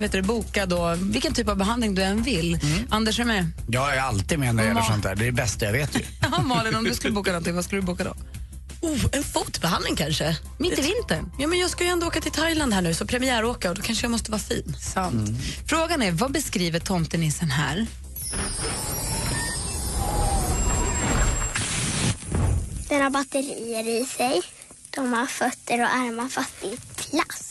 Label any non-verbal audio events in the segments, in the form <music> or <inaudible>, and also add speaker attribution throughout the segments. Speaker 1: vet du, boka då vilken typ av behandling du än vill.
Speaker 2: Mm.
Speaker 1: Anders är med. <laughs>
Speaker 3: Jag är alltid med när det gäller sånt där. Det är det bästa jag vet ju.
Speaker 1: Ja, Malin, om du skulle boka någonting, vad skulle du boka då?
Speaker 2: Oh, en fotbehandling kanske?
Speaker 1: Mitt i vintern.
Speaker 2: Ja, men jag ska ju ändå åka till Thailand här nu, så premiäråka och då kanske jag måste vara fin.
Speaker 1: Sant.
Speaker 2: Mm.
Speaker 1: Frågan är, vad beskriver tomtenissen här?
Speaker 4: Den har batterier i sig. De har fötter och armar fast i plast.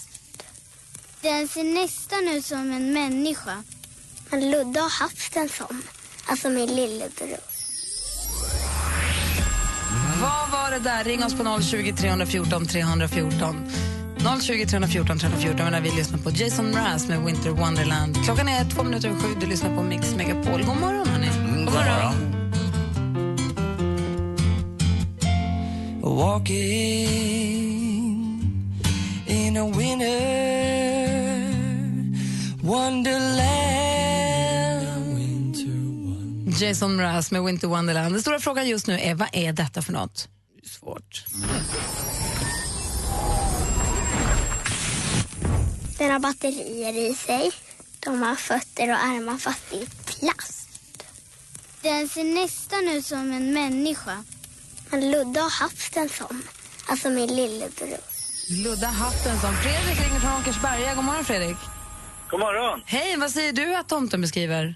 Speaker 4: Den ser nästan ut som en människa. Men Ludde har haft en sån. Alltså min lillebror.
Speaker 1: Vad var det där? Ring oss på 020 314 314. 020 314 314 när vi lyssnar på Jason Mraz med Winter Wonderland. Klockan är två minuter över sju. Du lyssnar på Mix Megapol. God morgon, hörni.
Speaker 3: Mm, God morgon.
Speaker 1: Jason Mraz med Winter Wonderland. Den stora frågan just nu är vad är detta för något? Svårt.
Speaker 4: Den har batterier i sig. De har fötter och armar fast i plast. Den ser nästan ut som en människa. Men Ludde har haft en sån. Alltså min lillebror.
Speaker 1: Ludda hatten som Fredrik ringer från Åkersberga. God morgon Fredrik.
Speaker 5: God morgon.
Speaker 1: Hej, vad säger du att tomten beskriver?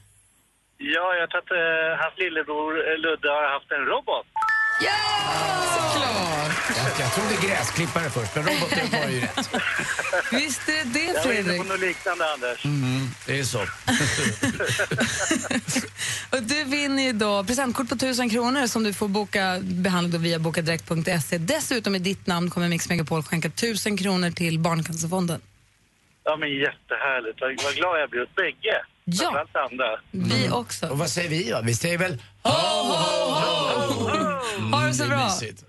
Speaker 5: Ja, jag tror att eh, hans lillebror eh, Ludde har haft en robot.
Speaker 1: Ja! Såklart!
Speaker 3: Jag, jag trodde gräsklippare först, men roboten var ju rätt.
Speaker 1: Visst är det det
Speaker 5: Jag var inne
Speaker 1: Fredrik. Mm.
Speaker 5: på något liknande, Anders.
Speaker 3: Det är så.
Speaker 1: Och du vinner ju då presentkort på 1000 kronor som du får boka behandling då via bokadirekt.se. E. Dessutom i ditt namn kommer Mix Megapol skänka 1000 kronor till Barncancerfonden.
Speaker 5: Ja, men jättehärligt. Vad vad glad jag blir åt bägge.
Speaker 1: Ja.
Speaker 5: Framförallt andra.
Speaker 1: Vi
Speaker 3: Mm. Och
Speaker 1: också.
Speaker 3: vad säger vi då? Vi säger väl...
Speaker 1: Ha det så
Speaker 3: Det är
Speaker 1: bra.
Speaker 3: mysigt.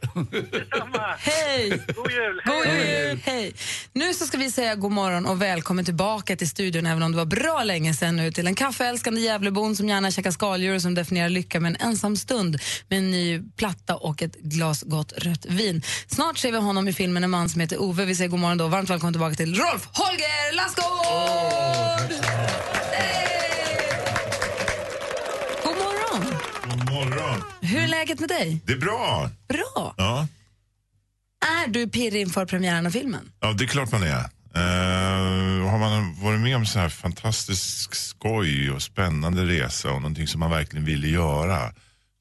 Speaker 5: Samma.
Speaker 1: Hej!
Speaker 3: <laughs>
Speaker 5: God jul!
Speaker 1: God jul! Hej! Nu så ska vi säga god morgon och välkommen tillbaka till studion även om det var bra länge sedan nu till en kaffeälskande Gävlebon som gärna käkar skaldjur och som definierar lycka med en ensam stund med en ny platta och ett glas gott rött vin. Snart ser vi honom i filmen En man som heter Ove. Vi säger god morgon då. Varmt välkommen tillbaka till Rolf Holger Lassgård! Hej! God morgon!
Speaker 6: God morgon.
Speaker 1: Hur är läget med dig?
Speaker 6: Det är bra.
Speaker 1: Bra!
Speaker 6: Ja,
Speaker 1: Är du pirrig inför premiären av filmen?
Speaker 6: ja det är klart man är. Eh, har man varit med om så här fantastisk skoj och spännande resa och någonting som man verkligen ville göra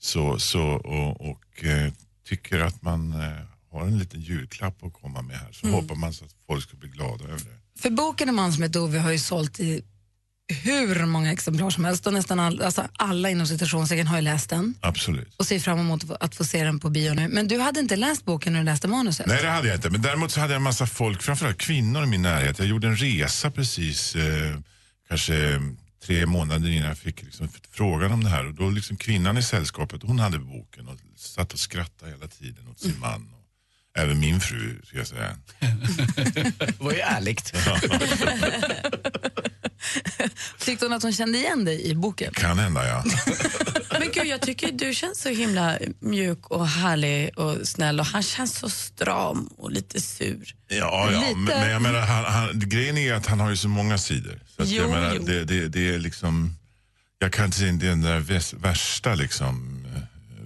Speaker 6: så, så, och, och eh, tycker att man eh, har en liten julklapp att komma med här så hoppas man så att folk ska bli glada över det.
Speaker 1: För boken En man som heter Ove har ju sålt i hur många exemplar som helst och nästan all, alltså alla inom citationstecken har ju läst den
Speaker 6: Absolut.
Speaker 1: och ser fram emot att få- att få se den på bio nu. Men du hade inte läst boken när du läste manuset?
Speaker 6: Nej, det hade jag inte. Men däremot så hade jag en massa folk, framförallt kvinnor i min närhet. Jag gjorde en resa precis, eh, kanske eh, tre månader innan jag fick liksom, frågan om det här. Och då liksom kvinnan i sällskapet, hon hade boken och satt och skrattade hela tiden åt
Speaker 3: Mm.
Speaker 6: sin man. Och även min fru, ska jag säga.
Speaker 3: <laughs> Det var ju ärligt.
Speaker 1: Tyckte hon att hon kände igen dig i boken?
Speaker 6: Kan hända, ja.
Speaker 2: Men gud, jag tycker du känns så himla mjuk och härlig och snäll och han känns så stram och lite sur.
Speaker 6: Ja, ja.
Speaker 1: Lite.
Speaker 6: Men, men jag menar, han, han, grejen är att han har ju så många sidor. Så att
Speaker 2: Jo,
Speaker 6: jag menar,
Speaker 2: jo.
Speaker 6: Det, det, det är liksom... Jag kan inte säga det är den där väs- värsta liksom eh,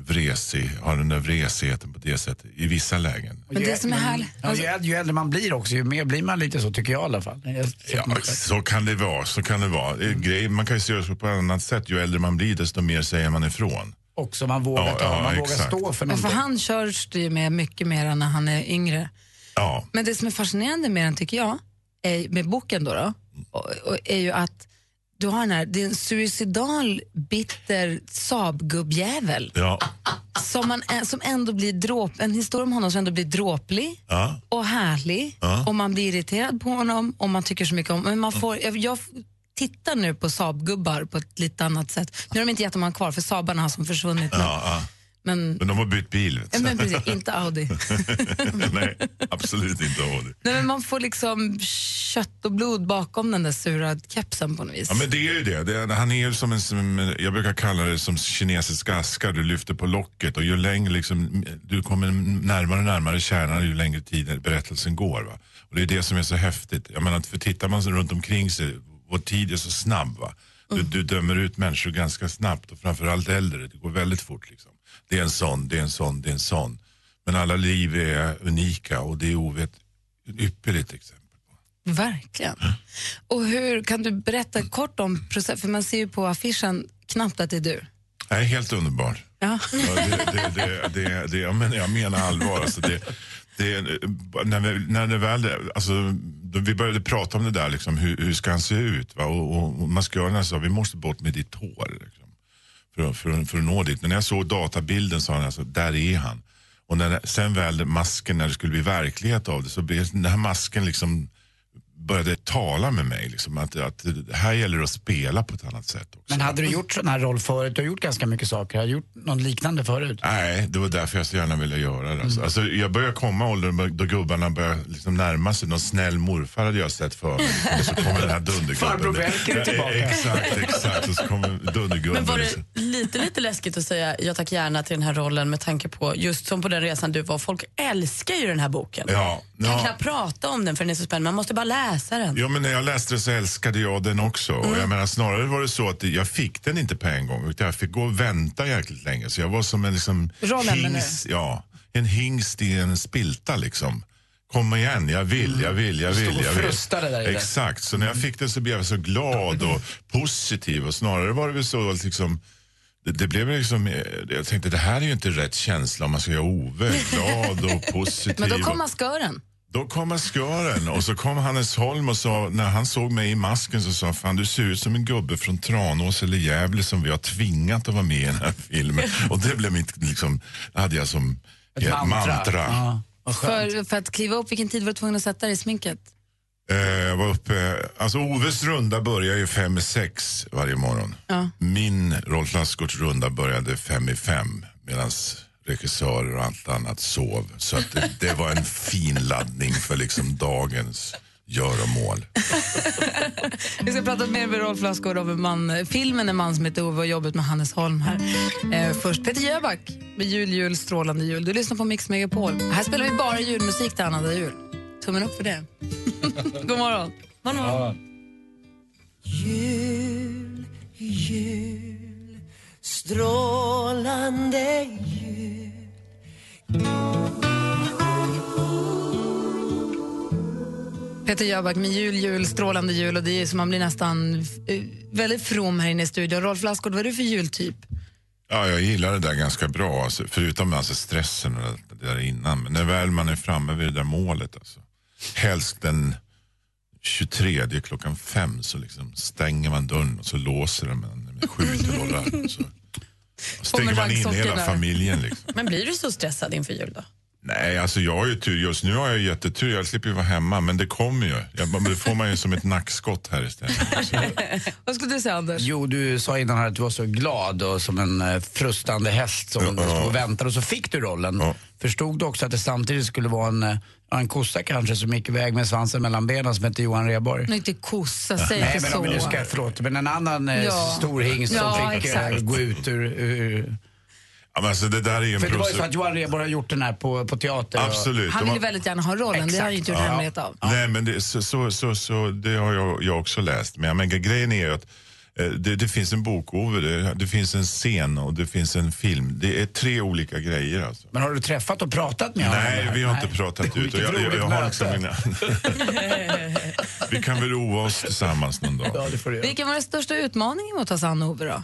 Speaker 6: vresig, har den där vresigheten på det sättet i vissa lägen.
Speaker 1: Men det som är härligt-
Speaker 3: Ja,
Speaker 2: alltså-
Speaker 3: ju, äldre- ju äldre man blir också, ju mer blir man lite så tycker jag i alla fall. Jag-
Speaker 6: Ja, så kan
Speaker 3: Mm.
Speaker 6: det vara. Så kan det vara. Eh, Grej, man kan ju se det på ett annat sätt. Ju äldre man blir desto mer säger man ifrån.
Speaker 3: och som man vågar
Speaker 6: Ja,
Speaker 3: ta.
Speaker 6: ja,
Speaker 3: man vågar
Speaker 6: exakt.
Speaker 3: stå för
Speaker 1: Men för
Speaker 3: någonting.
Speaker 1: han körs det ju med mycket mer när han är yngre.
Speaker 6: Ja.
Speaker 1: Men det som är fascinerande med den tycker jag, är, med boken då, då och, och är ju att du har den här, det är en suicidal, bitter Saab-gubbjävel
Speaker 6: Ja.
Speaker 1: som, man ä- som ändå blir dråp, en historia om honom som ändå blir dråplig
Speaker 6: Ja.
Speaker 1: och härlig
Speaker 6: Ja. Mm.
Speaker 1: och man blir irriterad på honom och man tycker så mycket om men man får, jag, jag tittar nu på Saab-gubbar på ett lite annat sätt. Nu är de inte jättemånga kvar för Saabarna har som försvunnit. nu.
Speaker 6: Ja, ja.
Speaker 1: Men,
Speaker 6: Men de har bytt bil. Vet
Speaker 1: ja,
Speaker 6: du.
Speaker 1: men precis, inte Audi.
Speaker 6: Nej, absolut inte Audi.
Speaker 1: Nej, men man får liksom kött och blod bakom den där sura kepsen på något vis.
Speaker 6: Ja, men det är ju det. det. Han är ju som en, som, jag brukar kalla det som kinesiska askar. Du lyfter på locket och ju längre liksom, du kommer närmare och närmare kärnan ju längre tid berättelsen går. Va? Och det är det som är så häftigt. Jag menar, för tittar man sig runt omkring sig, vår tid är så snabb. Va? Du, du dömer ut människor ganska snabbt och framförallt äldre. Det går väldigt fort. Liksom. Det är en sån, det är en sån, det är en sån. Men alla liv är unika och det är ovet, ypperligt liksom. exempel.
Speaker 1: Verkligen. Och hur Kan du berätta kort om processen? För man ser ju på affischen knappt att det är du.
Speaker 6: Det är helt underbart.
Speaker 1: Ja.
Speaker 6: Ja, det, det, det, det, det, jag, menar, jag menar allvar. Alltså det, det, när, vi, när det väl, alltså, då vi började prata om det där, liksom, hur, hur ska han se ut? Va? Och, och, och maskören sa, vi måste bort med ditt hår liksom, för, att- för, att- för att nå dit. Men när jag såg databilden sa han, alltså, där är han. Och när, det- sen väl masken, när det skulle bli verklighet av det, så blev den här masken liksom började tala med mig. Liksom, att, att här gäller det att spela på ett annat sätt. Också.
Speaker 3: Men hade du gjort sån här roll förut? Du har gjort ganska mycket saker. Har du gjort något liknande förut?
Speaker 6: Nej, det var därför jag så gärna ville göra det. Alltså. Alltså, jag börjar komma i åldern då gubbarna börjar liksom närma sig. Någon snäll morfar hade jag sett för mig. Liksom. Och så kommer den här dundergubben.
Speaker 3: Farbror Werker är tillbaka.
Speaker 6: Ja, Exakt, exakt. Och så kommer dundergubben.
Speaker 2: Men var det lite, lite läskigt att säga jag tack gärna till den här rollen med tanke på just som på den resan du var. Folk älskar ju den här boken.
Speaker 6: Ja,
Speaker 2: Kan
Speaker 6: ja.
Speaker 2: knappt prata om den för den är så spännande. Man måste bara läsa den.
Speaker 6: Ja, men när jag läste det så älskade jag den också. Och jag menar, snarare var det så att jag fick den inte på en gång utan jag fick gå och vänta jäkligt länge. Så jag var som en liksom,
Speaker 1: Rollen, menar du?
Speaker 6: hingst, ja, en hingst i en spilta liksom. Kom igen, jag vill, jag vill, jag vill.
Speaker 3: Stod och
Speaker 6: jag vill.
Speaker 3: frustade där i det.
Speaker 6: Exakt, så när jag fick den så blev jag så glad och positiv och snarare var det väl så att liksom det, det blev liksom, eh, jag tänkte det här är ju inte rätt känsla om man ska göra Ove glad och positiv.
Speaker 1: Men då
Speaker 6: och-
Speaker 1: kom maskören.
Speaker 6: då kom maskören och så kom Hannes Holm och sa, när han såg mig i masken så sa han, fan du ser ut som en gubbe från Tranås eller Gävle som vi har tvingat att vara med i den här filmen. Och det blev mitt, liksom, hade jag som
Speaker 3: Ett
Speaker 6: eh,
Speaker 3: Ja, vad skönt.
Speaker 1: För, för att kliva upp, vilken tid var du tvungen att sätta dig i sminket?
Speaker 6: Eh, jag var uppe, alltså Oves runda börjar ju fem i sex varje morgon.
Speaker 1: Ja.
Speaker 6: Min Rolf Lassgårds runda började fem i fem medan regissörer och allt annat sov. Så att det, det var en fin laddning för liksom dagens göromål.
Speaker 1: Vi ska prata mer med Rolf Lassgård om en man, filmen En man som heter Ove och jobbet med Hannes Holm här. Eh, först Peter Jöback med Jul, jul, strålande jul. Du lyssnar på Mix Megapol. Här spelar vi bara julmusik till annandag jul. Tummen upp för det. <laughs> God morgon. Peter Jöback med Jul, jul, strålande jul. Och det är ju som man blir nästan eh, väldigt from här inne i studion. Rolf Lassgård, vad är du för jultyp?
Speaker 6: Ja, jag gillar det där ganska bra, alltså, förutom alltså stressen och allt det där innan. Men när väl man är framme vid det där målet, alltså, helst den 23 klockan fem så liksom stänger man dörren och så låser den med med sju dollar. och Så stänger man in
Speaker 1: raggsockor
Speaker 6: hela
Speaker 1: där.
Speaker 6: familjen. Liksom.
Speaker 2: Men blir du så stressad inför jul då?
Speaker 6: Nej, alltså jag har ju tur. Just nu har jag jättetur. Jag slipper ju vara hemma, men det kommer ju. Jag, men det får man ju som ett nackskott här istället. Så,
Speaker 1: <laughs> Vad skulle du säga, Anders?
Speaker 3: Jo, du sa innan här att du var så glad och som en eh, frustande häst som
Speaker 6: Ja, ja.
Speaker 3: stod och väntade och så fick du rollen.
Speaker 6: Ja.
Speaker 3: Förstod du också att det samtidigt skulle vara en, eh, ja, en kossa kanske som gick iväg med svansen mellan benen som hette Johan Rheborg?
Speaker 1: Nu inte kossa, säg
Speaker 3: Nej,
Speaker 1: inte
Speaker 3: men
Speaker 1: så.
Speaker 3: om vi nu ska, förlåt, men en annan eh,
Speaker 1: Ja.
Speaker 3: stor hingst som
Speaker 1: Ja,
Speaker 3: fick eh,
Speaker 1: exakt.
Speaker 3: gå ut ur... ur
Speaker 6: ja, men alltså, det där är ju en
Speaker 3: för det var ju så
Speaker 6: procedur.
Speaker 3: att Johan Rheborg har gjort den här på, på teater. och-
Speaker 6: Absolut.
Speaker 1: Han
Speaker 6: De
Speaker 1: vill
Speaker 6: har-
Speaker 1: ju väldigt gärna ha rollen, det har han ju inte gjort
Speaker 3: Exakt. Ja.
Speaker 1: hemlighet av.
Speaker 6: Nej, men det, så, så, så, så, det har jag, jag också läst. Men, jag menar, grejen är ju att eh, det, det finns en bok-Ove, det, det finns en scen och det finns en film. Det är tre olika grejer alltså.
Speaker 3: Men har du träffat och pratat med honom?
Speaker 6: Nej,
Speaker 3: eller?
Speaker 6: vi har inte
Speaker 3: Nej.
Speaker 6: pratat ut.
Speaker 3: Vilket
Speaker 6: Och jag, jag,
Speaker 3: roligt
Speaker 6: jag har liksom
Speaker 3: möte.
Speaker 6: mina... <laughs> vi kan väl roa oss tillsammans någon dag.
Speaker 3: Ja, det får du göra.
Speaker 1: Vilken var den största utmaningen mot att ta sig an Ove då?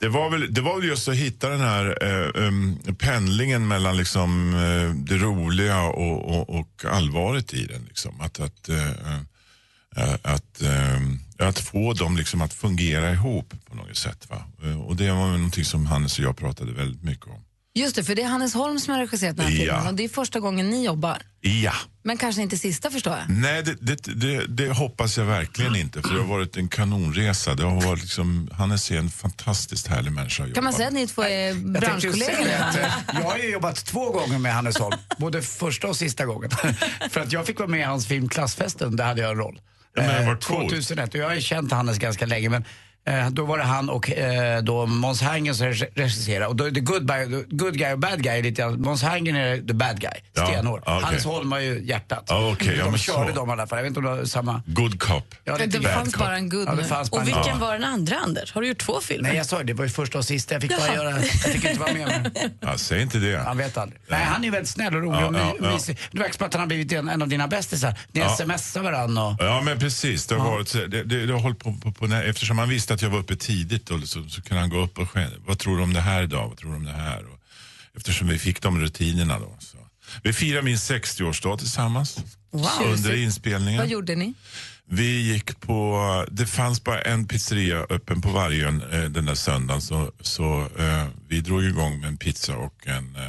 Speaker 6: Det var, väl, det var väl just att hitta den här eh, em, pendlingen mellan liksom, eh, det roliga och, och, och allvaret i den. Liksom. Att, att, eh, eh, att, eh, att få dem liksom att fungera ihop på något sätt. Va? Eh, Och det var väl någonting som Hannes och jag pratade väldigt mycket om.
Speaker 1: Just det, för det är Hannes Holm som har regisserat den här
Speaker 6: Ja.
Speaker 1: filmen och det är första gången ni jobbar.
Speaker 6: Ja.
Speaker 1: Men kanske inte sista förstår jag.
Speaker 3: Mm.
Speaker 6: Nej, det, det, det, det hoppas jag verkligen inte. För det har varit en kanonresa. Det har varit liksom, Hannes är en fantastiskt härlig människa att
Speaker 1: Kan man
Speaker 6: jobba
Speaker 1: säga att ni två är
Speaker 3: Jag tänkte ju
Speaker 1: branschkollegor?
Speaker 3: säga att,
Speaker 1: nu?
Speaker 3: eh, Jag har ju jobbat två gånger med Hannes Holm, både första och sista gången. <laughs> För att jag fick vara med i hans film Klassfesten, där hade jag en roll.
Speaker 6: Ja, men
Speaker 3: Eh,
Speaker 6: vad coolt.
Speaker 3: 2001, och jag har ju känt Hannes ganska länge men eh, då var det han och eh, då Måns Herngren som reg- regisserade. Och då är det good, by, good guy och bad guy. är Lite, grann- Måns Herngren är the bad guy,
Speaker 6: Ja,
Speaker 3: stenhård.
Speaker 6: ja, okej.
Speaker 3: Hannes Holm har ju hjärtat.
Speaker 6: Ja, okej, ja,
Speaker 3: de
Speaker 6: men
Speaker 3: körde
Speaker 6: så.
Speaker 3: dem i alla fall. Jag vet inte om det var samma...
Speaker 6: Good cop.
Speaker 3: Ja,
Speaker 1: Det
Speaker 3: lite
Speaker 1: fanns
Speaker 3: bad cop.
Speaker 1: bara en good
Speaker 3: Ja, det
Speaker 1: nu.
Speaker 3: fanns bara
Speaker 2: Och
Speaker 3: en-
Speaker 2: vilken
Speaker 3: Ja.
Speaker 2: var den andra, Anders? Har du gjort två filmer?
Speaker 3: Nej, jag sa det. Det var ju första och sista. Jag fick bara
Speaker 2: Jaha.
Speaker 3: göra... Jag fick inte vara med om det.
Speaker 6: Ja, säg inte det.
Speaker 3: Han vet aldrig. Nej, han är väldigt snäll och rolig
Speaker 6: Ja,
Speaker 3: och my-
Speaker 6: ja, ja.
Speaker 3: mysig. Det verkar som att han har blivit en, en av dina bästisar. Ni
Speaker 6: Ja.
Speaker 3: smsar varandra och...
Speaker 6: Ja, men precis. Det har, varit, så- det, det, det har hållit på, på, på nä- Eftersom han visste att jag var uppe tidigt då, så, så kunde han gå upp och skä- vad tror du om det här idag? Vad tror du om det här? Och, eftersom vi fick de rutinerna då. Så. Vi firar min 60-årsdag tillsammans under
Speaker 1: Tjusigt.
Speaker 6: inspelningen.
Speaker 1: Vad gjorde ni?
Speaker 6: Vi gick på, det fanns bara en pizzeria öppen på Vargön eh, den där söndagen så, så eh, vi drog igång med en pizza och en eh,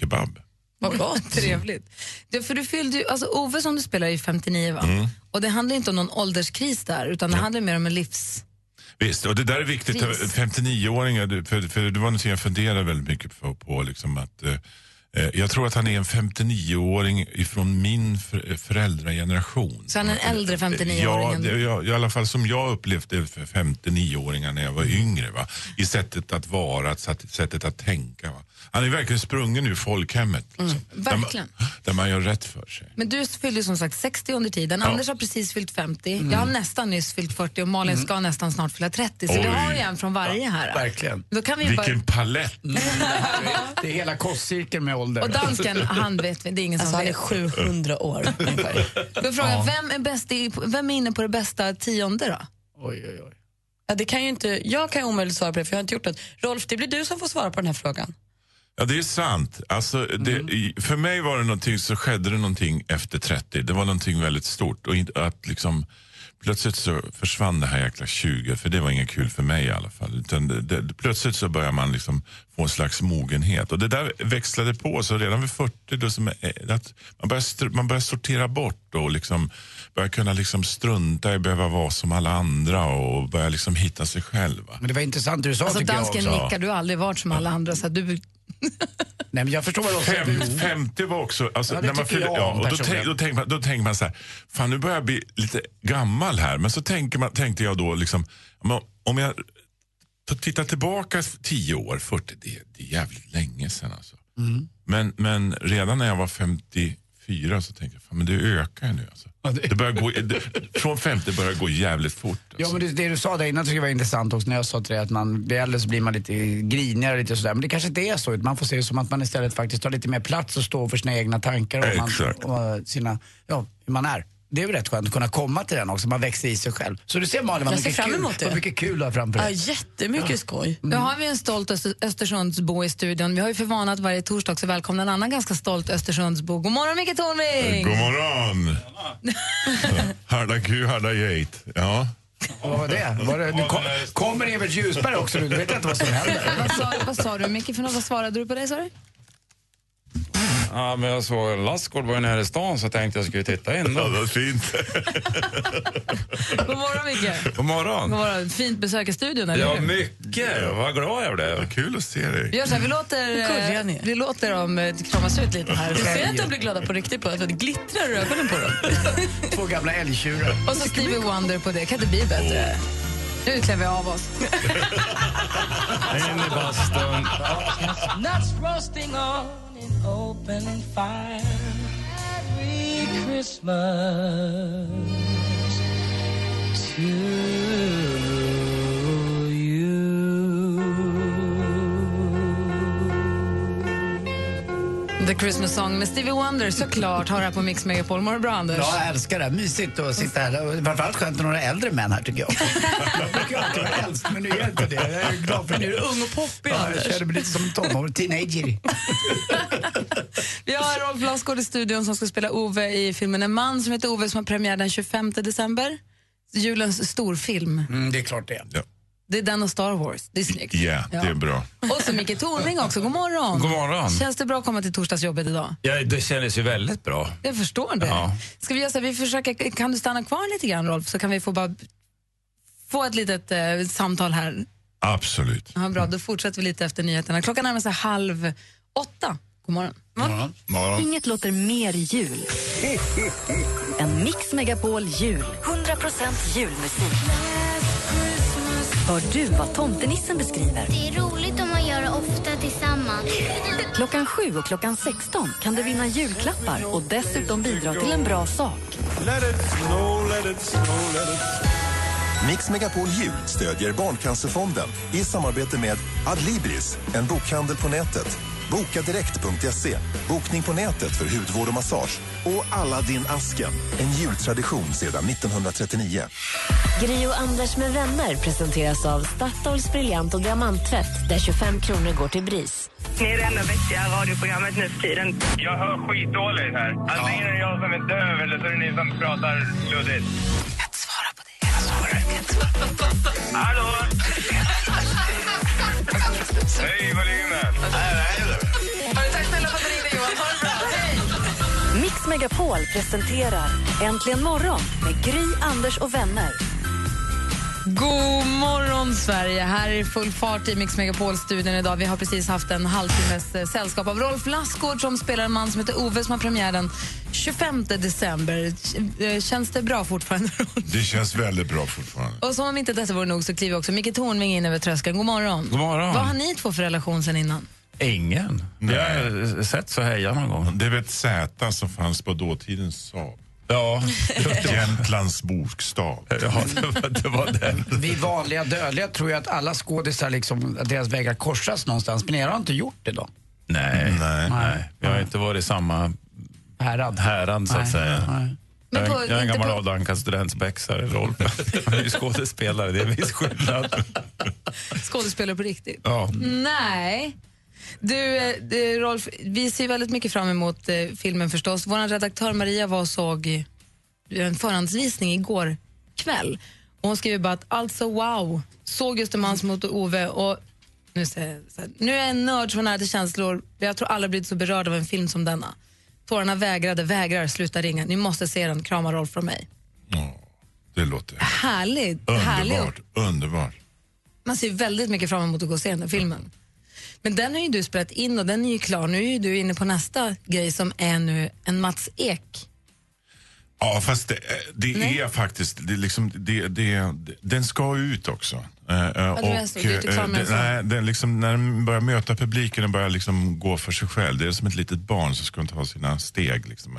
Speaker 6: kebab.
Speaker 1: Vad gott. <laughs> Trevligt. Det, för du fyllde ju, alltså Ove som du spelar är ju 59 va?
Speaker 6: Mm.
Speaker 1: Och det handlar inte om någon ålderskris där utan det handlar mer om en livs...
Speaker 6: Visst, och det där är viktigt.
Speaker 1: Pris.
Speaker 6: 59-åringar, du- för, för det var någonting jag funderade väldigt mycket på. på liksom att, eh, eh, jag tror att han är en 59-åring ifrån min för, föräldrageneration.
Speaker 1: Så han är en äldre 59-åring.
Speaker 6: Ja, det, jag, i alla fall som jag upplevde för 59-åringar när jag var yngre. Va? I sättet att vara, att sätt- sättet att tänka. Va? Han är verkligen sprungen ur folkhemmet. liksom.
Speaker 1: Mm, Verkligen.
Speaker 6: Där, man, där man gör rätt för sig.
Speaker 1: Men du fyllde ju som sagt 60 under tiden,
Speaker 6: Ja.
Speaker 1: Anders har precis fyllt 50,
Speaker 6: Mm.
Speaker 1: jag har nästan nyss fyllt 40 och
Speaker 2: Mm.
Speaker 1: Malin ska nästan snart fylla 30. Så
Speaker 6: Oj.
Speaker 1: du har ju en från varje här.
Speaker 3: Verkligen.
Speaker 1: Då kan vi ju
Speaker 6: Vilken palett!
Speaker 3: Det är hela kostcirkeln med ålder.
Speaker 1: bara... Och dansken, han vet vi, det är ingen
Speaker 2: Alltså,
Speaker 1: som
Speaker 2: han är
Speaker 1: vet.
Speaker 2: 700 år.
Speaker 1: Då frågar
Speaker 2: Ja.
Speaker 1: jag, vem är, bäst i, vem är inne på det bästa tionde då?
Speaker 3: Oj, oj, oj.
Speaker 2: Ja, det kan ju inte, jag kan ju omöjligt svara på det, för jag har inte gjort något. Rolf, det blir du som får svara på den här frågan.
Speaker 6: Ja, det är sant. Alltså, det, i- För mig var det någonting, så skedde det någonting efter 30. Det var någonting väldigt stort. Och inte- att liksom, plötsligt så försvann det här jäkla 20, för det var inget kul för mig i alla fall. Utan det, det, plötsligt så börjar man liksom få en slags mogenhet. Och det där växlade på, så redan vid 40 då som är, att man, börjar str- man börjar sortera bort då och liksom börjar kunna liksom strunta i behöva vara som alla andra och börja liksom hitta sig själv. va.
Speaker 3: Men det var intressant det du sa
Speaker 1: Alltså
Speaker 3: tycker jag
Speaker 1: dansken
Speaker 3: också. Mm.
Speaker 1: nickar, du har aldrig varit som alla andra. Så att du,
Speaker 3: Nej, men jag förstår vad du
Speaker 6: Fem, 50 var också... Alltså,
Speaker 3: Ja, det
Speaker 6: när man
Speaker 3: tycker
Speaker 6: fyller,
Speaker 3: jag om
Speaker 6: ja, och då,
Speaker 3: personligen.
Speaker 6: tänk, då, tänker man, då tänker man så här, fan nu börjar jag bli lite gammal här. Men så tänker man, tänkte jag då, liksom, men om jag t- tittar tillbaka 10 år, 40, det, det är jävligt länge sedan alltså.
Speaker 3: Mm.
Speaker 6: Men, men redan när jag var 54 så tänkte jag, fan men det ökar ju nu alltså. Det börjar gå, det, från 50 börjar det gå jävligt fort. alltså.
Speaker 3: Ja, men det, det du sa där innan tycker jag var intressant också när jag sa till dig att man blir äldre så blir man lite grinigare och lite sådär. Men det kanske inte är så. utan Man får se det som att man istället faktiskt tar lite mer plats och står för sina egna tankar och,
Speaker 6: Exakt.
Speaker 3: man, och eh, sina, ja, hur man är. Det är väl rätt skönt att kunna komma till den också. Man växer i sig själv. Så du ser Malin vad
Speaker 2: Jag ser
Speaker 3: mycket
Speaker 2: fram
Speaker 3: kul,
Speaker 2: emot det.
Speaker 3: vad mycket kul du har framför
Speaker 2: Ja,
Speaker 3: dig.
Speaker 2: jättemycket skoj.
Speaker 1: Då har vi en stolt Öster- Östersundsbo i studion. Vi har ju för vana att varje torsdag också välkomna en annan ganska stolt Östersundsbo. God morgon Micke Tornving!
Speaker 6: God
Speaker 1: <laughs>
Speaker 6: morgon! Harda Q, harda gate. Ja.
Speaker 3: Vad var det? Var det nu kom, kommer Evert Ljusberg också nu? Du vet inte vad som händer.
Speaker 1: Vad sa, vad sa du Micke för något? Vad svarade du på det sa du?
Speaker 7: Ja, men jag såg Lassgård var ju nere i stan så jag tänkte jag skulle titta in.
Speaker 6: Ja, vad fint.
Speaker 1: God morgon Micke!
Speaker 7: God
Speaker 1: God
Speaker 7: morgon.
Speaker 1: morgon. Fint besök i studion eller
Speaker 7: Ja,
Speaker 1: hur?
Speaker 7: mycket. Vad glad jag blev.
Speaker 6: Kul att se dig.
Speaker 1: Vi gör så här, vi
Speaker 2: Gulliga
Speaker 1: låter, eh, vi låter dem eh, kramas ut lite här.
Speaker 2: Du ser att de blir glada på riktigt på att det glittrar i ögonen på dem.
Speaker 3: Två gamla älgtjurar.
Speaker 1: Och så Stevie Wonder på det. Kan inte bli bättre. Nu klär vi av oss.
Speaker 7: In i bastun.
Speaker 8: Nuts roasting on an open fire. Merry Christmas to you.
Speaker 1: <laughs> The Christmas Song med Stevie Wonder såklart har här på Mix Megapol. Mår du bra Anders?
Speaker 3: Ja, jag älskar det. Mysigt att sitta här. Och Framförallt skönt med några äldre män här
Speaker 9: <laughs>
Speaker 3: tycker jag. Men nu är inte det. Jag är glad för det.
Speaker 8: Nu är du ung
Speaker 1: och
Speaker 3: ja,
Speaker 1: poppig,
Speaker 3: Jag
Speaker 1: Anders.
Speaker 3: känner mig lite som en tonåring, teenager.
Speaker 1: Vi har Rolf Lassgård i studion som ska spela Ove i filmen En man som heter Ove som har premiär den 25 december. Julens storfilm.
Speaker 3: Mm, det är klart det.
Speaker 6: Ja,
Speaker 1: Det är den och Star Wars. Det är snyggt.
Speaker 6: ja, det är bra.
Speaker 1: Och så Micke Tornving också. God morgon.
Speaker 9: God morgon.
Speaker 1: Känns det bra att komma till torsdagsjobbet idag?
Speaker 9: Ja, det kändes ju väldigt bra.
Speaker 1: Jag förstår det.
Speaker 9: Ja.
Speaker 1: Ska vi göra så här, vi försöker, kan du stanna kvar lite grann Rolf så kan vi få bara få ett litet eh, samtal här.
Speaker 6: Absolut.
Speaker 1: Ja, bra, då fortsätter vi lite efter nyheterna. Klockan närmar sig halv åtta. God morgon.
Speaker 6: Morgon.
Speaker 10: Inget låter mer jul än Mix Megapol jul. 100% julmusik. Hör du vad tomtenissen beskriver?
Speaker 4: Det är roligt om man gör det ofta tillsammans.
Speaker 10: Klockan 7 och klockan 16 kan du vinna julklappar och dessutom bidra till en bra sak.
Speaker 11: Let it snow, let it snow, let it
Speaker 12: Mix Megapol Jul stödjer Barncancerfonden i samarbete med Adlibris, en bokhandel på nätet, bokadirekt.se, E. bokning på nätet för hudvård och massage och alla din asken, en jultradition sedan 1939.
Speaker 13: Gri och Anders med vänner presenteras av Statoils briljant och diamanttvätt där 25 kronor går till BRIS.
Speaker 14: Ni är det enda vettiga radioprogrammet nu för tiden.
Speaker 5: Jag hör skitdåligt här. Antingen är det jag som är döv eller så är det ni som pratar luddigt. Hallå? Hej, volymen!
Speaker 1: Tack snälla för att du ringde Johan. Ha det bra.
Speaker 10: Mix Megapol presenterar Äntligen morgon med Gry, Anders och vänner.
Speaker 1: God morgon, Sverige! Här är full fart i Mix Megapol-studion idag. Vi har precis haft en halvtimmes eh, sällskap av Rolf Lassgård som spelar en man som heter Ove som har premiär den 25 december. K- eh, Känns det bra fortfarande? <laughs>
Speaker 6: Det känns väldigt bra fortfarande.
Speaker 1: Och som om inte detta vore nog så kliver också Micke Tornving in över tröskeln. God morgon!
Speaker 9: God morgon.
Speaker 1: Vad har ni två för relation sen innan?
Speaker 9: Ingen. Jag har sett så heja någon gång.
Speaker 6: Det är väl ett Z som fanns på dåtidens Saab.
Speaker 9: Ja.
Speaker 6: <laughs> Jämtlands bokstav.
Speaker 9: Ja, det var, det var den.
Speaker 3: Vi vanliga dödliga tror ju att alla skådisar, liksom, att deras vägar korsas någonstans. Men er har inte gjort det då?
Speaker 9: Nej, nej, nej. Jag har inte varit i samma
Speaker 3: härad,
Speaker 9: härad så att
Speaker 3: Nej,
Speaker 9: säga.
Speaker 1: Men
Speaker 9: jag,
Speaker 1: på-
Speaker 9: jag är en
Speaker 1: inte
Speaker 9: gammal
Speaker 1: på-
Speaker 9: avdankad studentsbexare, Rolf. Han är ju skådespelare, det är en viss skillnad.
Speaker 1: Skådespelare på riktigt?
Speaker 9: Ja.
Speaker 1: Nej. Du, eh, du, Rolf, vi ser väldigt mycket fram emot eh, filmen förstås. Vår redaktör Maria var och såg eh, en förhandsvisning igår kväll. Och hon skrev bara att alltså wow, såg just en man som mot Ove och nu, säger jag så här, nu är jag en nörd som har nära till känslor. Jag tror alla blivit så berörda av en film som denna. Tårarna vägrade, vägrar, sluta ringa. Ni måste se den. Krama Rolf från mig.
Speaker 6: Det låter
Speaker 1: Härligt. härlig
Speaker 6: underbart. Underbart.
Speaker 1: man ser ju väldigt mycket fram emot att gå och se den där filmen. Men den har ju du spelat in och den är ju klar. Nu är ju du inne på nästa grej som är nu en Mats Ek.
Speaker 6: Ja, fast det, eh, det är faktiskt... Det, är liksom, det, det, den ska ut också. Eh, eh,
Speaker 1: du menar så. Du är inte klar med
Speaker 6: eh,
Speaker 1: den
Speaker 6: den, nej, den liksom, när den börjar möta publiken och börjar liksom gå för sig själv. Det är som ett litet barn som ska ta sina steg. Liksom.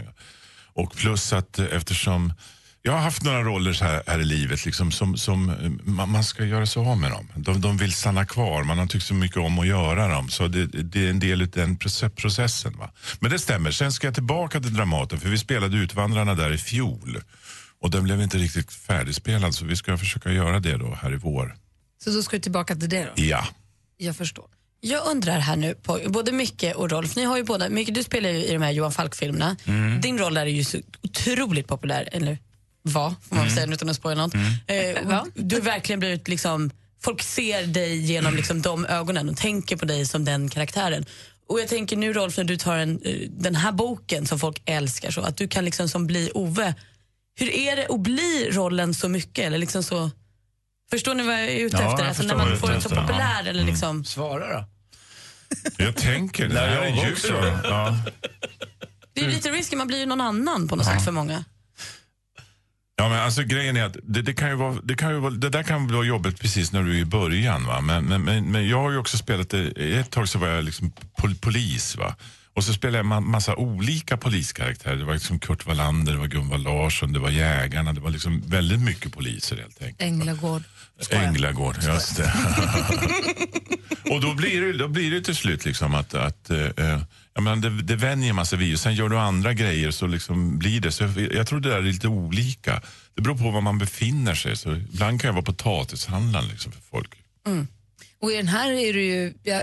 Speaker 6: Och plus att eh, eftersom... Jag har haft några roller så här, här i livet liksom, som, som eh, man, man ska göra sig av med dem. De, de vill stanna kvar, man har tyckt så mycket om att göra dem. Så det, det är en del av den proce- processen. Va? Men det stämmer, sen ska jag tillbaka till Dramaten för vi spelade Utvandrarna där i fjol. Och den blev inte riktigt färdigspelad så vi ska försöka göra det då här i vår.
Speaker 1: Så då ska du tillbaka till det då?
Speaker 6: Ja.
Speaker 1: Jag förstår.
Speaker 2: Jag undrar här nu, på, både Micke och Rolf, ni har ju båda, Micke du spelar ju i de här Johan Falk-filmerna.
Speaker 8: Mm.
Speaker 2: Din roll där är ju så otroligt populär, eller var, får man väl
Speaker 8: Mm.
Speaker 2: säga utan att spoila något. Eh, och du har verkligen blivit liksom, folk ser dig genom liksom, de ögonen och tänker på dig som den karaktären. Och jag tänker nu Rolf, när du tar en, eh, den här boken som folk älskar så, att du kan liksom som bli Ove. Hur är det att bli rollen så mycket? Eller liksom så, förstår ni vad jag är ute
Speaker 6: Ja,
Speaker 2: efter?
Speaker 6: jag
Speaker 2: Alltså,
Speaker 6: förstår
Speaker 2: när
Speaker 6: vad
Speaker 2: man
Speaker 6: du är
Speaker 2: får
Speaker 6: ute
Speaker 2: en så
Speaker 6: efter, ja.
Speaker 2: populär eller
Speaker 6: Mm.
Speaker 2: liksom...
Speaker 3: Svara då.
Speaker 6: Jag tänker, det
Speaker 9: Nej,
Speaker 6: här
Speaker 9: jag
Speaker 6: är ju
Speaker 9: också.
Speaker 6: så. Ja.
Speaker 2: Det är
Speaker 6: Mm.
Speaker 2: ju lite risky, man blir ju någon annan på något sätt för många.
Speaker 6: Ja, men alltså, grejen är att det, det, kan ju vara, det, kan ju vara, det där kan vara jobbigt precis när du är i början. Va? Men, men, men, men jag har ju också spelat, det- ett tag så var jag liksom pol, polis. Va? Och Och så spelade jag ma- massa olika poliskaraktärer. Det var liksom Kurt Wallander, det var Gunvald Larsson, det var jägarna. Det var liksom väldigt mycket poliser helt enkelt.
Speaker 1: Änglagård.
Speaker 6: Änglagård, just det. och då blir det, då blir det till slut liksom att, att eh, eh, jag menar, det, det vänjer man sig vid. Och Sen gör du andra grejer så liksom blir det. Så jag, jag tror det där är lite olika. Det beror på var man befinner sig. Så ibland kan jag vara potatishandlaren liksom för folk.
Speaker 1: Mm. Och i den här är du ju ja,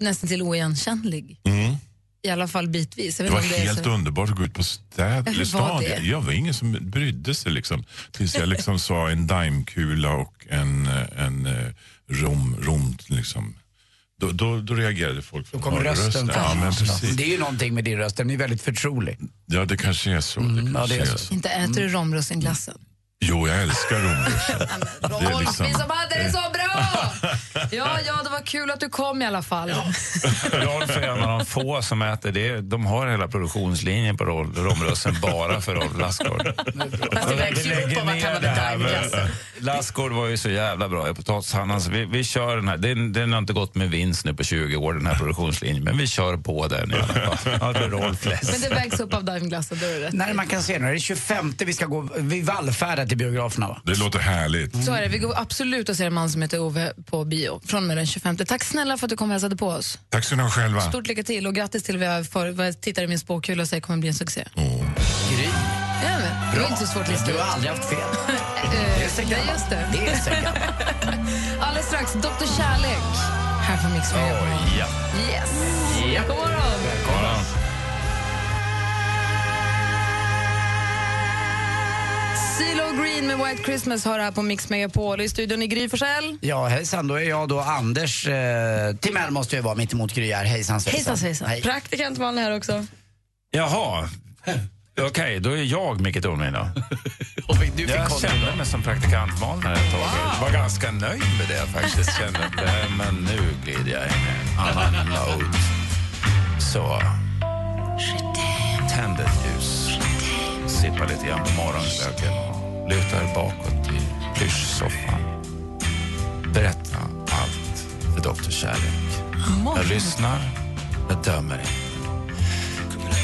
Speaker 1: nästan till oigenkännlig.
Speaker 6: Mm.
Speaker 1: I alla fall bitvis. Jag vet
Speaker 6: Det var
Speaker 1: inte om är
Speaker 6: helt
Speaker 1: så-
Speaker 6: underbart att gå ut på städ, eller
Speaker 1: Var
Speaker 6: stad.
Speaker 1: det?
Speaker 6: Jag var ingen som brydde sig liksom. Tills jag liksom sa en daimkula och en, eh, en eh, rom, romt liksom. Då, då, då reagerade folk. Då
Speaker 3: Kommer rösten
Speaker 6: Ja, men precis.
Speaker 3: Det är ju någonting med din röst, den är väldigt förtrolig.
Speaker 6: Ja, det kanske är så. det kanske
Speaker 3: Mm, det är
Speaker 6: är
Speaker 3: så.
Speaker 6: så.
Speaker 1: Inte äter
Speaker 6: Mm.
Speaker 1: du romrussinglassen?
Speaker 6: Jo, jag älskar romrörelsen. Det är liksom-
Speaker 1: Vi som hade det så
Speaker 6: <laughs>
Speaker 1: bra! Ja, ja, det var kul att du kom i alla fall.
Speaker 9: Rolf är en av de få som äter det. De har hela produktionslinjen på roll- romrösten bara för Rolf Lassgård.
Speaker 2: Fast det vägs
Speaker 9: Vi
Speaker 2: ju upp
Speaker 9: lägger
Speaker 2: av att han
Speaker 9: ner
Speaker 2: hade
Speaker 9: det här.
Speaker 2: daimglassen.
Speaker 9: men Lassgård var ju så jävla bra i potatishandeln. så alltså, Vi, vi kör den här. Den, den har inte gått med vinst nu på 20 år, den här produktionslinjen. Men vi kör på den i alla fall. Ja, det är Rolf Less.
Speaker 1: Men det vägs upp av daimglassen, då är det rätt.
Speaker 3: Nej, man kan se nu. Det är 25 vi ska gå, vi vallfärdar till biograferna va?
Speaker 6: Det låter härligt.
Speaker 1: Så är det, vi går absolut och ser en man som heter Ove på bio från och med den 25. Tack snälla för att du kom och hälsade på oss.
Speaker 6: Tack ska ni ha själva.
Speaker 1: Stort lycka till och grattis till vad jag, för, vad jag tittar i min spåkula och säger kommer bli en succé.
Speaker 6: Mm.
Speaker 3: Gry.
Speaker 1: Ja, men, det var inte så svårt att lista
Speaker 3: Du har
Speaker 1: ut.
Speaker 3: aldrig haft fel.
Speaker 1: Eh, Nej, just det.
Speaker 3: Det är så gammalt.
Speaker 1: <laughs> Alldeles strax, Dr Kärlek här på Mix Megapol.
Speaker 9: ja.
Speaker 1: Yes!
Speaker 9: Ja.
Speaker 1: God morgon!
Speaker 9: Ja.
Speaker 1: CeeLo Green med White Christmas har det här på Mix Megapol. I studion i Gry Forssell.
Speaker 3: <laughs> Ja, hejsan. Då är jag då Anders eh, Timell måste jag vara mitt emot Gry här. Hejsan
Speaker 1: Hejsan svejsan.
Speaker 3: Hej.
Speaker 1: Praktikant Malin här också.
Speaker 9: Jaha. Okej, då är jag Micke Tornving då. jag kände mig som praktikant Malin ett tag. var ganska nöjd med det faktiskt. <laughs> Kände att, nej, men nu glider jag in i en annan mode. Så. Tänd ett ljus. Sippa lite grann på morgonglöggen. Lutar bakåt i plyschsoffan. Berätta allt för doktor Kärlek. Jag lyssnar, jag dömer inte.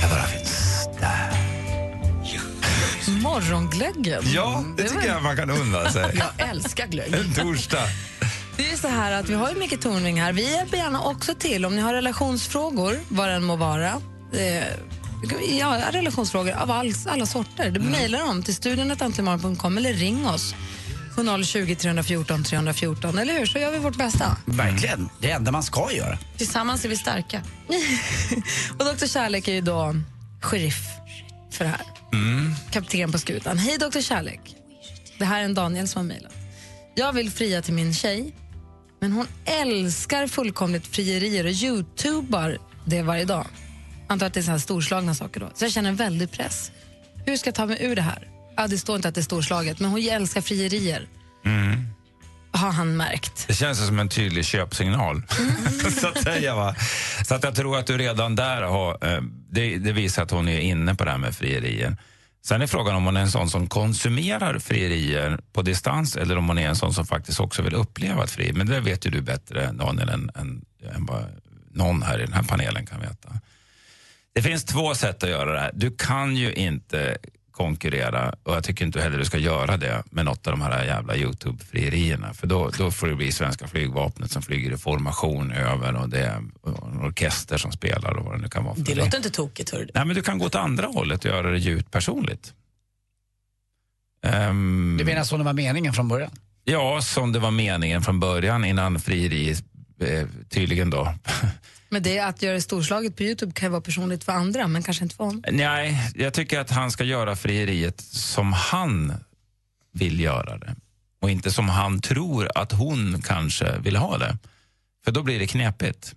Speaker 9: Jag bara finns där.
Speaker 1: Morgonglöggen.
Speaker 9: Ja, det tycker jag man kan unna sig.
Speaker 1: Jag älskar glögg.
Speaker 9: En torsdag.
Speaker 1: Det är ju så här att vi har ju Micke Tornving här. Vi hjälper gärna också till om ni har relationsfrågor, vad den må vara. Eh, ja, relationsfrågor av all, alla sorter. Du mejlar dem till studionetantlimarren.com eller ring oss på 020 314 314. Eller hur? Så gör vi vårt bästa.
Speaker 3: Verkligen. Det är det enda man ska göra.
Speaker 1: Tillsammans är vi starka. <laughs> och Dr Kärlek är ju då sheriff för det här.
Speaker 9: Mm.
Speaker 1: Kapten på skutan. Hej Dr Kärlek. Det här är en Daniel som har mejlat. Jag vill fria till min tjej, men hon älskar fullkomligt frierier och youtubar det varje dag. Antar att det är så här storslagna saker då. Så jag känner en väldig press. Hur ska jag ta mig ur det här? Ja, det står inte att det är storslaget, men hon älskar frierier,
Speaker 9: Mm.
Speaker 1: har han märkt.
Speaker 9: Det känns som en tydlig köpsignal. <laughs> så, att säga, va? så att jag tror att du redan där har... eh, Det, det visar att hon är inne på det här med frierier. Sen är frågan om hon är en sån som konsumerar frierier på distans eller om hon är en sån som faktiskt också vill uppleva ett frieri. Men det vet ju du bättre, Daniel, än, än, än vad någon här i den här panelen kan veta. Det finns två sätt att göra det här. Du kan ju inte konkurrera och jag tycker inte heller du ska göra det med något av de här jävla Youtube-frierierna. För då, då får det bli svenska flygvapnet som flyger i formation över och det är en orkester som spelar och vad det nu kan vara. för
Speaker 2: Det
Speaker 9: någonting.
Speaker 2: låter inte tokigt. Hörru.
Speaker 9: Nej, men du kan gå åt andra hållet och göra det djupt personligt. Ehm,
Speaker 3: Du menar så det var meningen från början?
Speaker 9: Ja, som det var meningen från början innan frieri eh, tydligen då <laughs>
Speaker 1: Men det att göra det storslaget på Youtube kan ju vara personligt för andra, men kanske inte för honom.
Speaker 9: Nej, jag tycker att han ska göra frieriet som han vill göra det. Och inte som han tror att hon kanske vill ha det. För då blir det knepigt.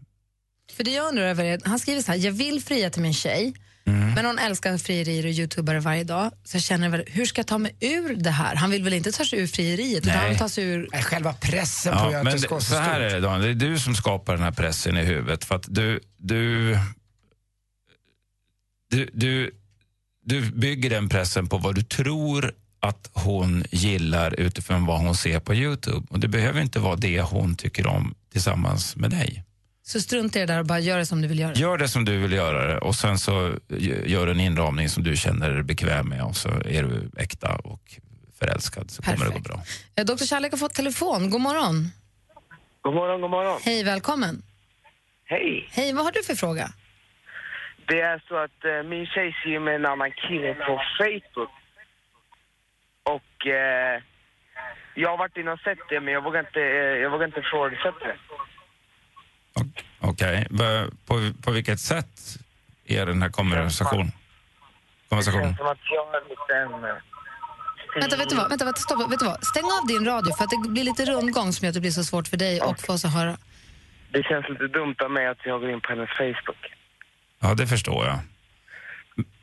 Speaker 1: För det jag undrar över är, han skriver så här, jag vill fria till min tjej, men hon älskar frierier och youtubare varje dag. Så jag känner, väl, hur ska jag ta mig ur det här? Han vill väl inte ta sig ur frieriet, utan
Speaker 9: Nej.
Speaker 1: han vill ta sig ur...
Speaker 3: Själva pressen
Speaker 9: Ja, men det, så här är det Dan, det är du som skapar den här pressen i huvudet. För att du, du, du, du, du bygger den pressen på vad du tror att hon gillar utifrån vad hon ser på Youtube. Och det behöver inte vara det hon tycker om tillsammans med dig.
Speaker 1: Så strunta i det där och bara gör det som du vill göra.
Speaker 9: Gör det som du vill göra det och sen så gör en inramning som du känner dig bekväm med och så är du äkta och förälskad så kommer det gå bra.
Speaker 1: Eh, Dr. Kärlek har fått telefon. God morgon.
Speaker 15: God morgon, god morgon.
Speaker 1: Hej, välkommen.
Speaker 15: Hej.
Speaker 1: Hej, vad har du för fråga?
Speaker 15: Det är så att eh, min tjej ser med en annan kille på Facebook. Och eh, jag har varit inne och sett det, men jag vågar inte, eh, jag vågar inte ifrågasätta det.
Speaker 9: Okej, Va- på, på vilket sätt är den här konversationen? Konversation.
Speaker 15: Som att jag är lite en... eh,
Speaker 1: Vänta, vet du vad? Vänta, vänta, stopp. Vet du vad? Stäng av din radio för att det blir lite rundgång som gör att det blir så svårt för dig och för oss att höra.
Speaker 15: Det känns lite dumt av mig att jag går in på hennes Facebook.
Speaker 9: Ja, det förstår jag.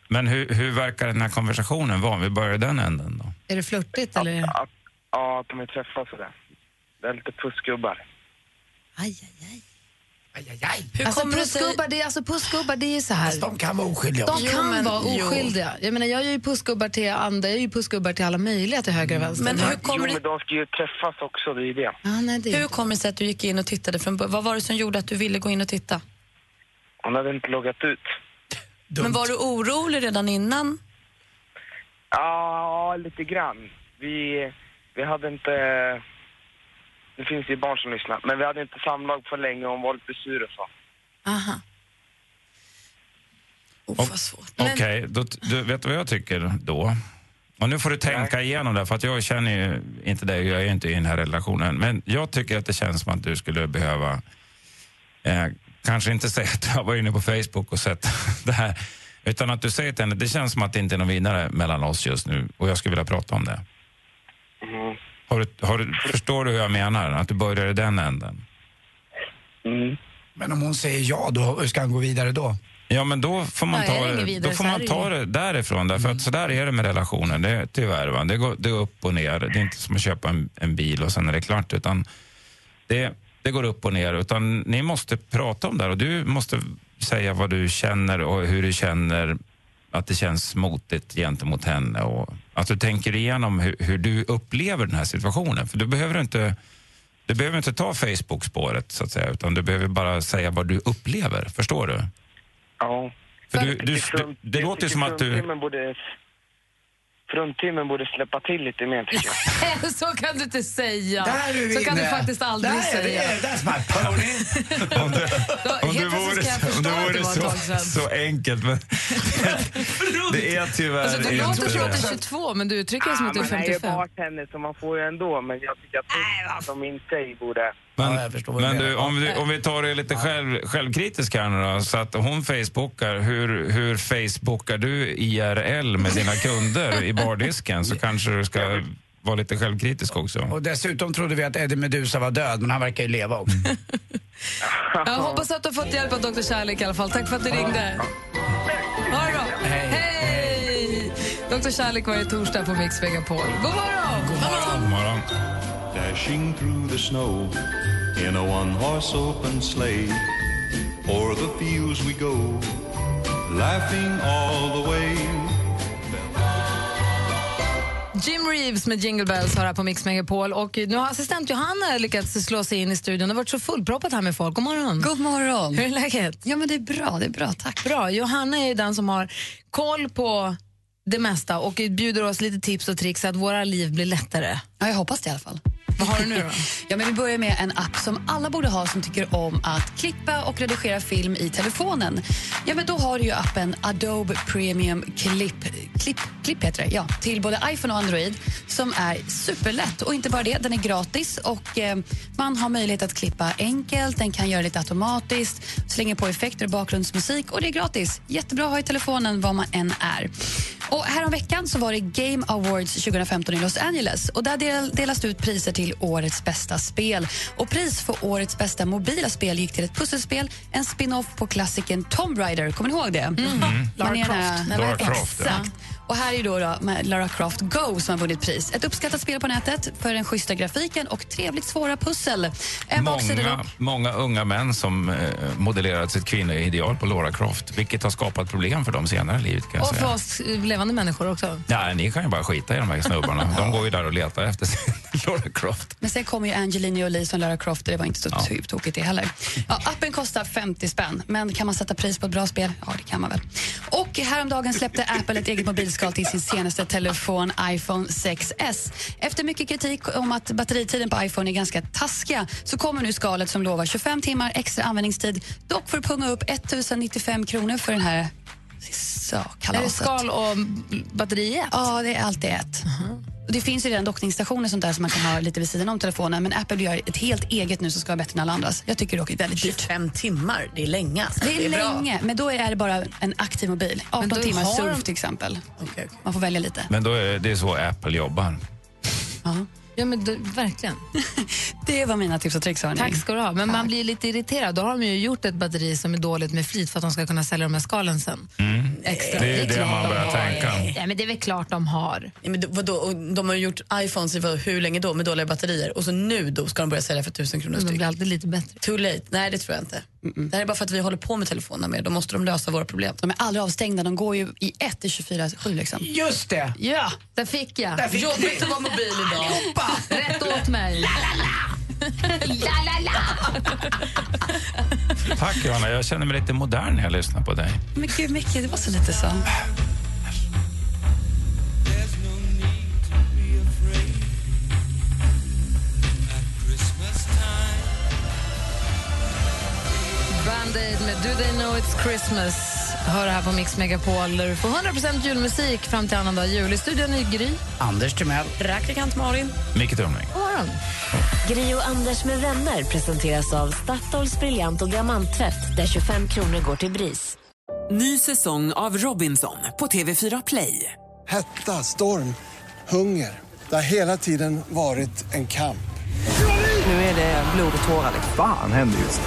Speaker 9: Men hur, hur verkar den här konversationen vara? Om vi börjar i den änden då.
Speaker 1: Är det flörtigt eller?
Speaker 15: Ja, att de är träffade sådär. Det är lite pussgubbar.
Speaker 1: Hur alltså, pussgubbar, det, är- alltså, pussgubbar, det är ju så här.
Speaker 3: De kan vara oskyldiga
Speaker 1: De
Speaker 3: också.
Speaker 1: kan
Speaker 3: Jo, men-
Speaker 1: vara
Speaker 3: jo.
Speaker 1: oskyldiga. Jag menar, jag är ju pussgubbar till andra, jag är ju pussgubbar till alla möjliga till höger och vänster.
Speaker 15: Jo, men de ska ju träffas också, det är ju det.
Speaker 2: Hur kommer det sig att du gick in och tittade? Från, bör- vad var det som gjorde att du ville gå in och titta?
Speaker 15: Hon hade inte loggat ut.
Speaker 2: Men var du orolig redan innan?
Speaker 15: Ja, lite grann. Vi, vi hade inte... Det finns ju barn som lyssnar, men vi hade inte samlag på länge och hon var lite sur och så.
Speaker 2: Aha.
Speaker 9: Okej, då t- du, vet du vad jag tycker då? Och nu får du tänka igenom det, för att jag känner ju inte dig, jag är ju inte i den här relationen. Men jag tycker att det känns som att du skulle behöva, eh, kanske inte säga att jag var inne på Facebook och sett <laughs> det här, utan att du säger till henne, det känns som att det inte är någon vinnare mellan oss just nu och jag skulle vilja prata om det. Har du, har du, förstår du hur jag menar? Att du börjar i den änden?
Speaker 3: Men om hon säger ja, då hur ska han gå vidare då?
Speaker 9: Ja, men då får man
Speaker 3: Ja, är
Speaker 9: ta,
Speaker 3: det
Speaker 9: det,
Speaker 3: inget vidare
Speaker 9: då får
Speaker 3: så är
Speaker 9: man
Speaker 3: det
Speaker 9: ta
Speaker 3: ju.
Speaker 9: det därifrån. Därför
Speaker 3: Mm.
Speaker 9: att så där är det med relationer, det, är- tyvärr. Va? Det, går, det går upp och ner. Det är inte som att köpa en, en bil och sen är det klart. Utan det, det går upp och ner. Utan ni måste prata om det här och du måste säga vad du känner och hur du känner att det känns motigt gentemot henne. Och att du tänker igenom hur, hur du upplever den här situationen. För du behöver inte... Du behöver inte ta Facebook-spåret, så att säga, utan du behöver bara säga vad du upplever. Förstår du?
Speaker 15: Ja.
Speaker 9: För du, du, du, det låter ju som att du...
Speaker 15: Fruntimmen borde, fruntimmen borde släppa till lite mer, tycker jag.
Speaker 1: <laughs> så kan du inte säga.
Speaker 15: Där är vi
Speaker 1: så kan du
Speaker 15: inne.
Speaker 1: faktiskt aldrig
Speaker 15: Där är vi,
Speaker 1: säga.
Speaker 3: That's my
Speaker 1: <laughs>
Speaker 3: pony!
Speaker 9: Om det vore, om det vore så, så
Speaker 1: <laughs>
Speaker 9: enkelt, men det är tyvärr
Speaker 1: Alltså, du låter som
Speaker 9: inte
Speaker 1: att du är
Speaker 9: det.
Speaker 1: 22, men du uttrycker dig som att du är
Speaker 15: man är ju
Speaker 1: 55.
Speaker 15: bartender så man får ju ändå, men jag tycker att de inte i borde...
Speaker 9: Men, men du, om, vi, om vi tar det lite själv, självkritisk här nu då, så att hon facebookar, hur, hur facebookar du IRL med dina kunder i
Speaker 1: <laughs>
Speaker 9: bardisken? Så kanske du ska vara lite självkritisk också.
Speaker 3: Och dessutom trodde vi att Eddie Meduza var död, men han verkar ju leva också.
Speaker 1: Jag hoppas att du har fått hjälp av Dr. Kärlek i alla fall. Tack för att du ringde. Ha det bra. Hej! Dr. Kärlek varje torsdag på Mix Megapol. God morgon! God morgon!
Speaker 11: Dashing through the snow in a one horse open sleigh. O'er the fields we go, laughing all the way.
Speaker 1: Jim Reeves med Jingle Bells har här på Mix Megapol. Och nu har assistent Johanna lyckats slå sig in i studion. Det har varit så fullproppat här med folk. God morgon.
Speaker 16: God morgon.
Speaker 1: Hur är läget?
Speaker 16: Ja, men det är bra. Det är bra, tack.
Speaker 1: Bra. Johanna är ju den som har koll på det mesta och bjuder oss lite tips och tricks så att våra liv blir lättare.
Speaker 16: Ja, jag hoppas det i alla fall.
Speaker 1: Vad har
Speaker 16: <laughs>
Speaker 1: du nu då?
Speaker 16: Ja, men vi börjar med en app som alla borde ha som tycker om att klippa och redigera film i telefonen. Ja, men då har du ju appen Adobe Premium Clip, Clip, Clip heter det, ja, till både iPhone och Android som är superlätt. Och inte bara det, den är gratis och eh, man har möjlighet att klippa enkelt, den kan göra lite automatiskt, slänger på effekter och bakgrundsmusik och det är gratis. Jättebra att ha i telefonen var man än är. Och Häromveckan så var det Game Awards 2015 i Los Angeles. Och Där del- delas det ut priser till årets bästa spel. Och Pris för årets bästa mobila spel gick till ett pusselspel, en spin-off på klassikern Tomb Raider. Kommer ni ihåg det? Man är den här-
Speaker 8: Mm. Lara Lara Croft, Croft, ja.
Speaker 16: Exakt. Och här är då, då med Lara Croft Go som har vunnit pris. Ett uppskattat spel på nätet för den schyssta grafiken och trevligt svåra pussel. Ehm, En baksida
Speaker 9: Många,
Speaker 16: dock.
Speaker 9: många unga män som eh, modellerat sitt kvinnoideal på Lara Croft, vilket har skapat problem för dem senare i livet. Kan jag
Speaker 1: Och
Speaker 9: säga.
Speaker 1: för oss eh, levande levande människor också.
Speaker 9: Nej, ni kan ju bara skita i de här snubbarna. De går ju där och letar efter sin <laughs> Laura Croft.
Speaker 16: Men sen kom ju Angelina Jolie som Lara Croft och det var inte så ja. tokigt det heller. Ja, appen kostar 50 spänn, men kan man sätta pris på ett bra spel? Ja, det kan man väl. Och häromdagen släppte Apple ett eget mobilskal till sin senaste telefon iPhone 6S. Efter mycket kritik om att batteritiden på iPhone är ganska taskiga så kommer nu skalet som lovar 25 timmar extra användningstid. Dock får du punga upp 1095 kronor för den här så, kalaset.
Speaker 1: Är det skal och batteri i ett?
Speaker 16: Ja, det är alltid ett. Och Det finns ju redan dockningsstationer och sånt där som man kan ha lite vid sidan om telefonen men Apple gör ett helt eget nu som ska vara bättre än alla andras. Jag tycker dock det är väldigt dyrt.
Speaker 2: 25 timmar, det är länge. alltså.
Speaker 16: Det är,
Speaker 2: bra.
Speaker 16: länge, men då är det bara en aktiv mobil. 18
Speaker 2: då
Speaker 16: timmar
Speaker 2: har
Speaker 16: surf
Speaker 2: de-
Speaker 16: till exempel. Man får välja lite.
Speaker 9: Men då är det, det är så Apple jobbar.
Speaker 1: Ja, men det, verkligen.
Speaker 16: det var mina tips och tricks. Hörni.
Speaker 1: Tack ska du ha. Men man blir lite irriterad. Då har de ju gjort ett batteri som är dåligt med flit för att de ska kunna sälja de här skalen sen.
Speaker 2: Mm.
Speaker 1: Extra.
Speaker 9: Det är det man börjar tänka.
Speaker 1: Nej, men det är väl klart de har.
Speaker 2: Ja, men det- vadå? Och de har ju gjort iPhones i vad- hur länge då med dåliga batterier och så nu då ska de börja sälja för tusen kronor styck. De blir
Speaker 1: alltid lite bättre.
Speaker 2: Too late. Nej, det tror jag inte. Det här är bara för att vi håller på med telefonerna mer. Då måste de lösa våra problem.
Speaker 16: De är aldrig avstängda, de går ju i ett i 24-7 liksom.
Speaker 3: Just det!
Speaker 1: Ja, där fick jag.
Speaker 2: Där fick Jobbigt ni. att vara mobil idag. Allihopa.
Speaker 1: Rätt åt mig. La, la, la.
Speaker 9: Tack Johanna, jag känner mig lite modern när jag lyssnar på dig.
Speaker 16: Men gud Micke, det var så lite så.
Speaker 1: Band-Aid med Do They Know It's Christmas. Hör det här på Mix Megapol där du får 100% julmusik fram till annandag jul. I studion är Gry.
Speaker 3: Anders Timell.
Speaker 13: Praktikant Malin.
Speaker 9: Micke Tornving.
Speaker 1: God morgon.
Speaker 13: Gri och Anders med vänner presenteras av Statoils briljant och diamanttvätt där 25 kronor går till BRIS.
Speaker 17: Ny säsong av Robinson på TV4 Play.
Speaker 18: Hetta, storm, hunger. Det har hela tiden varit en kamp.
Speaker 8: Nu är det blod och tårar.
Speaker 19: Fan händer just det.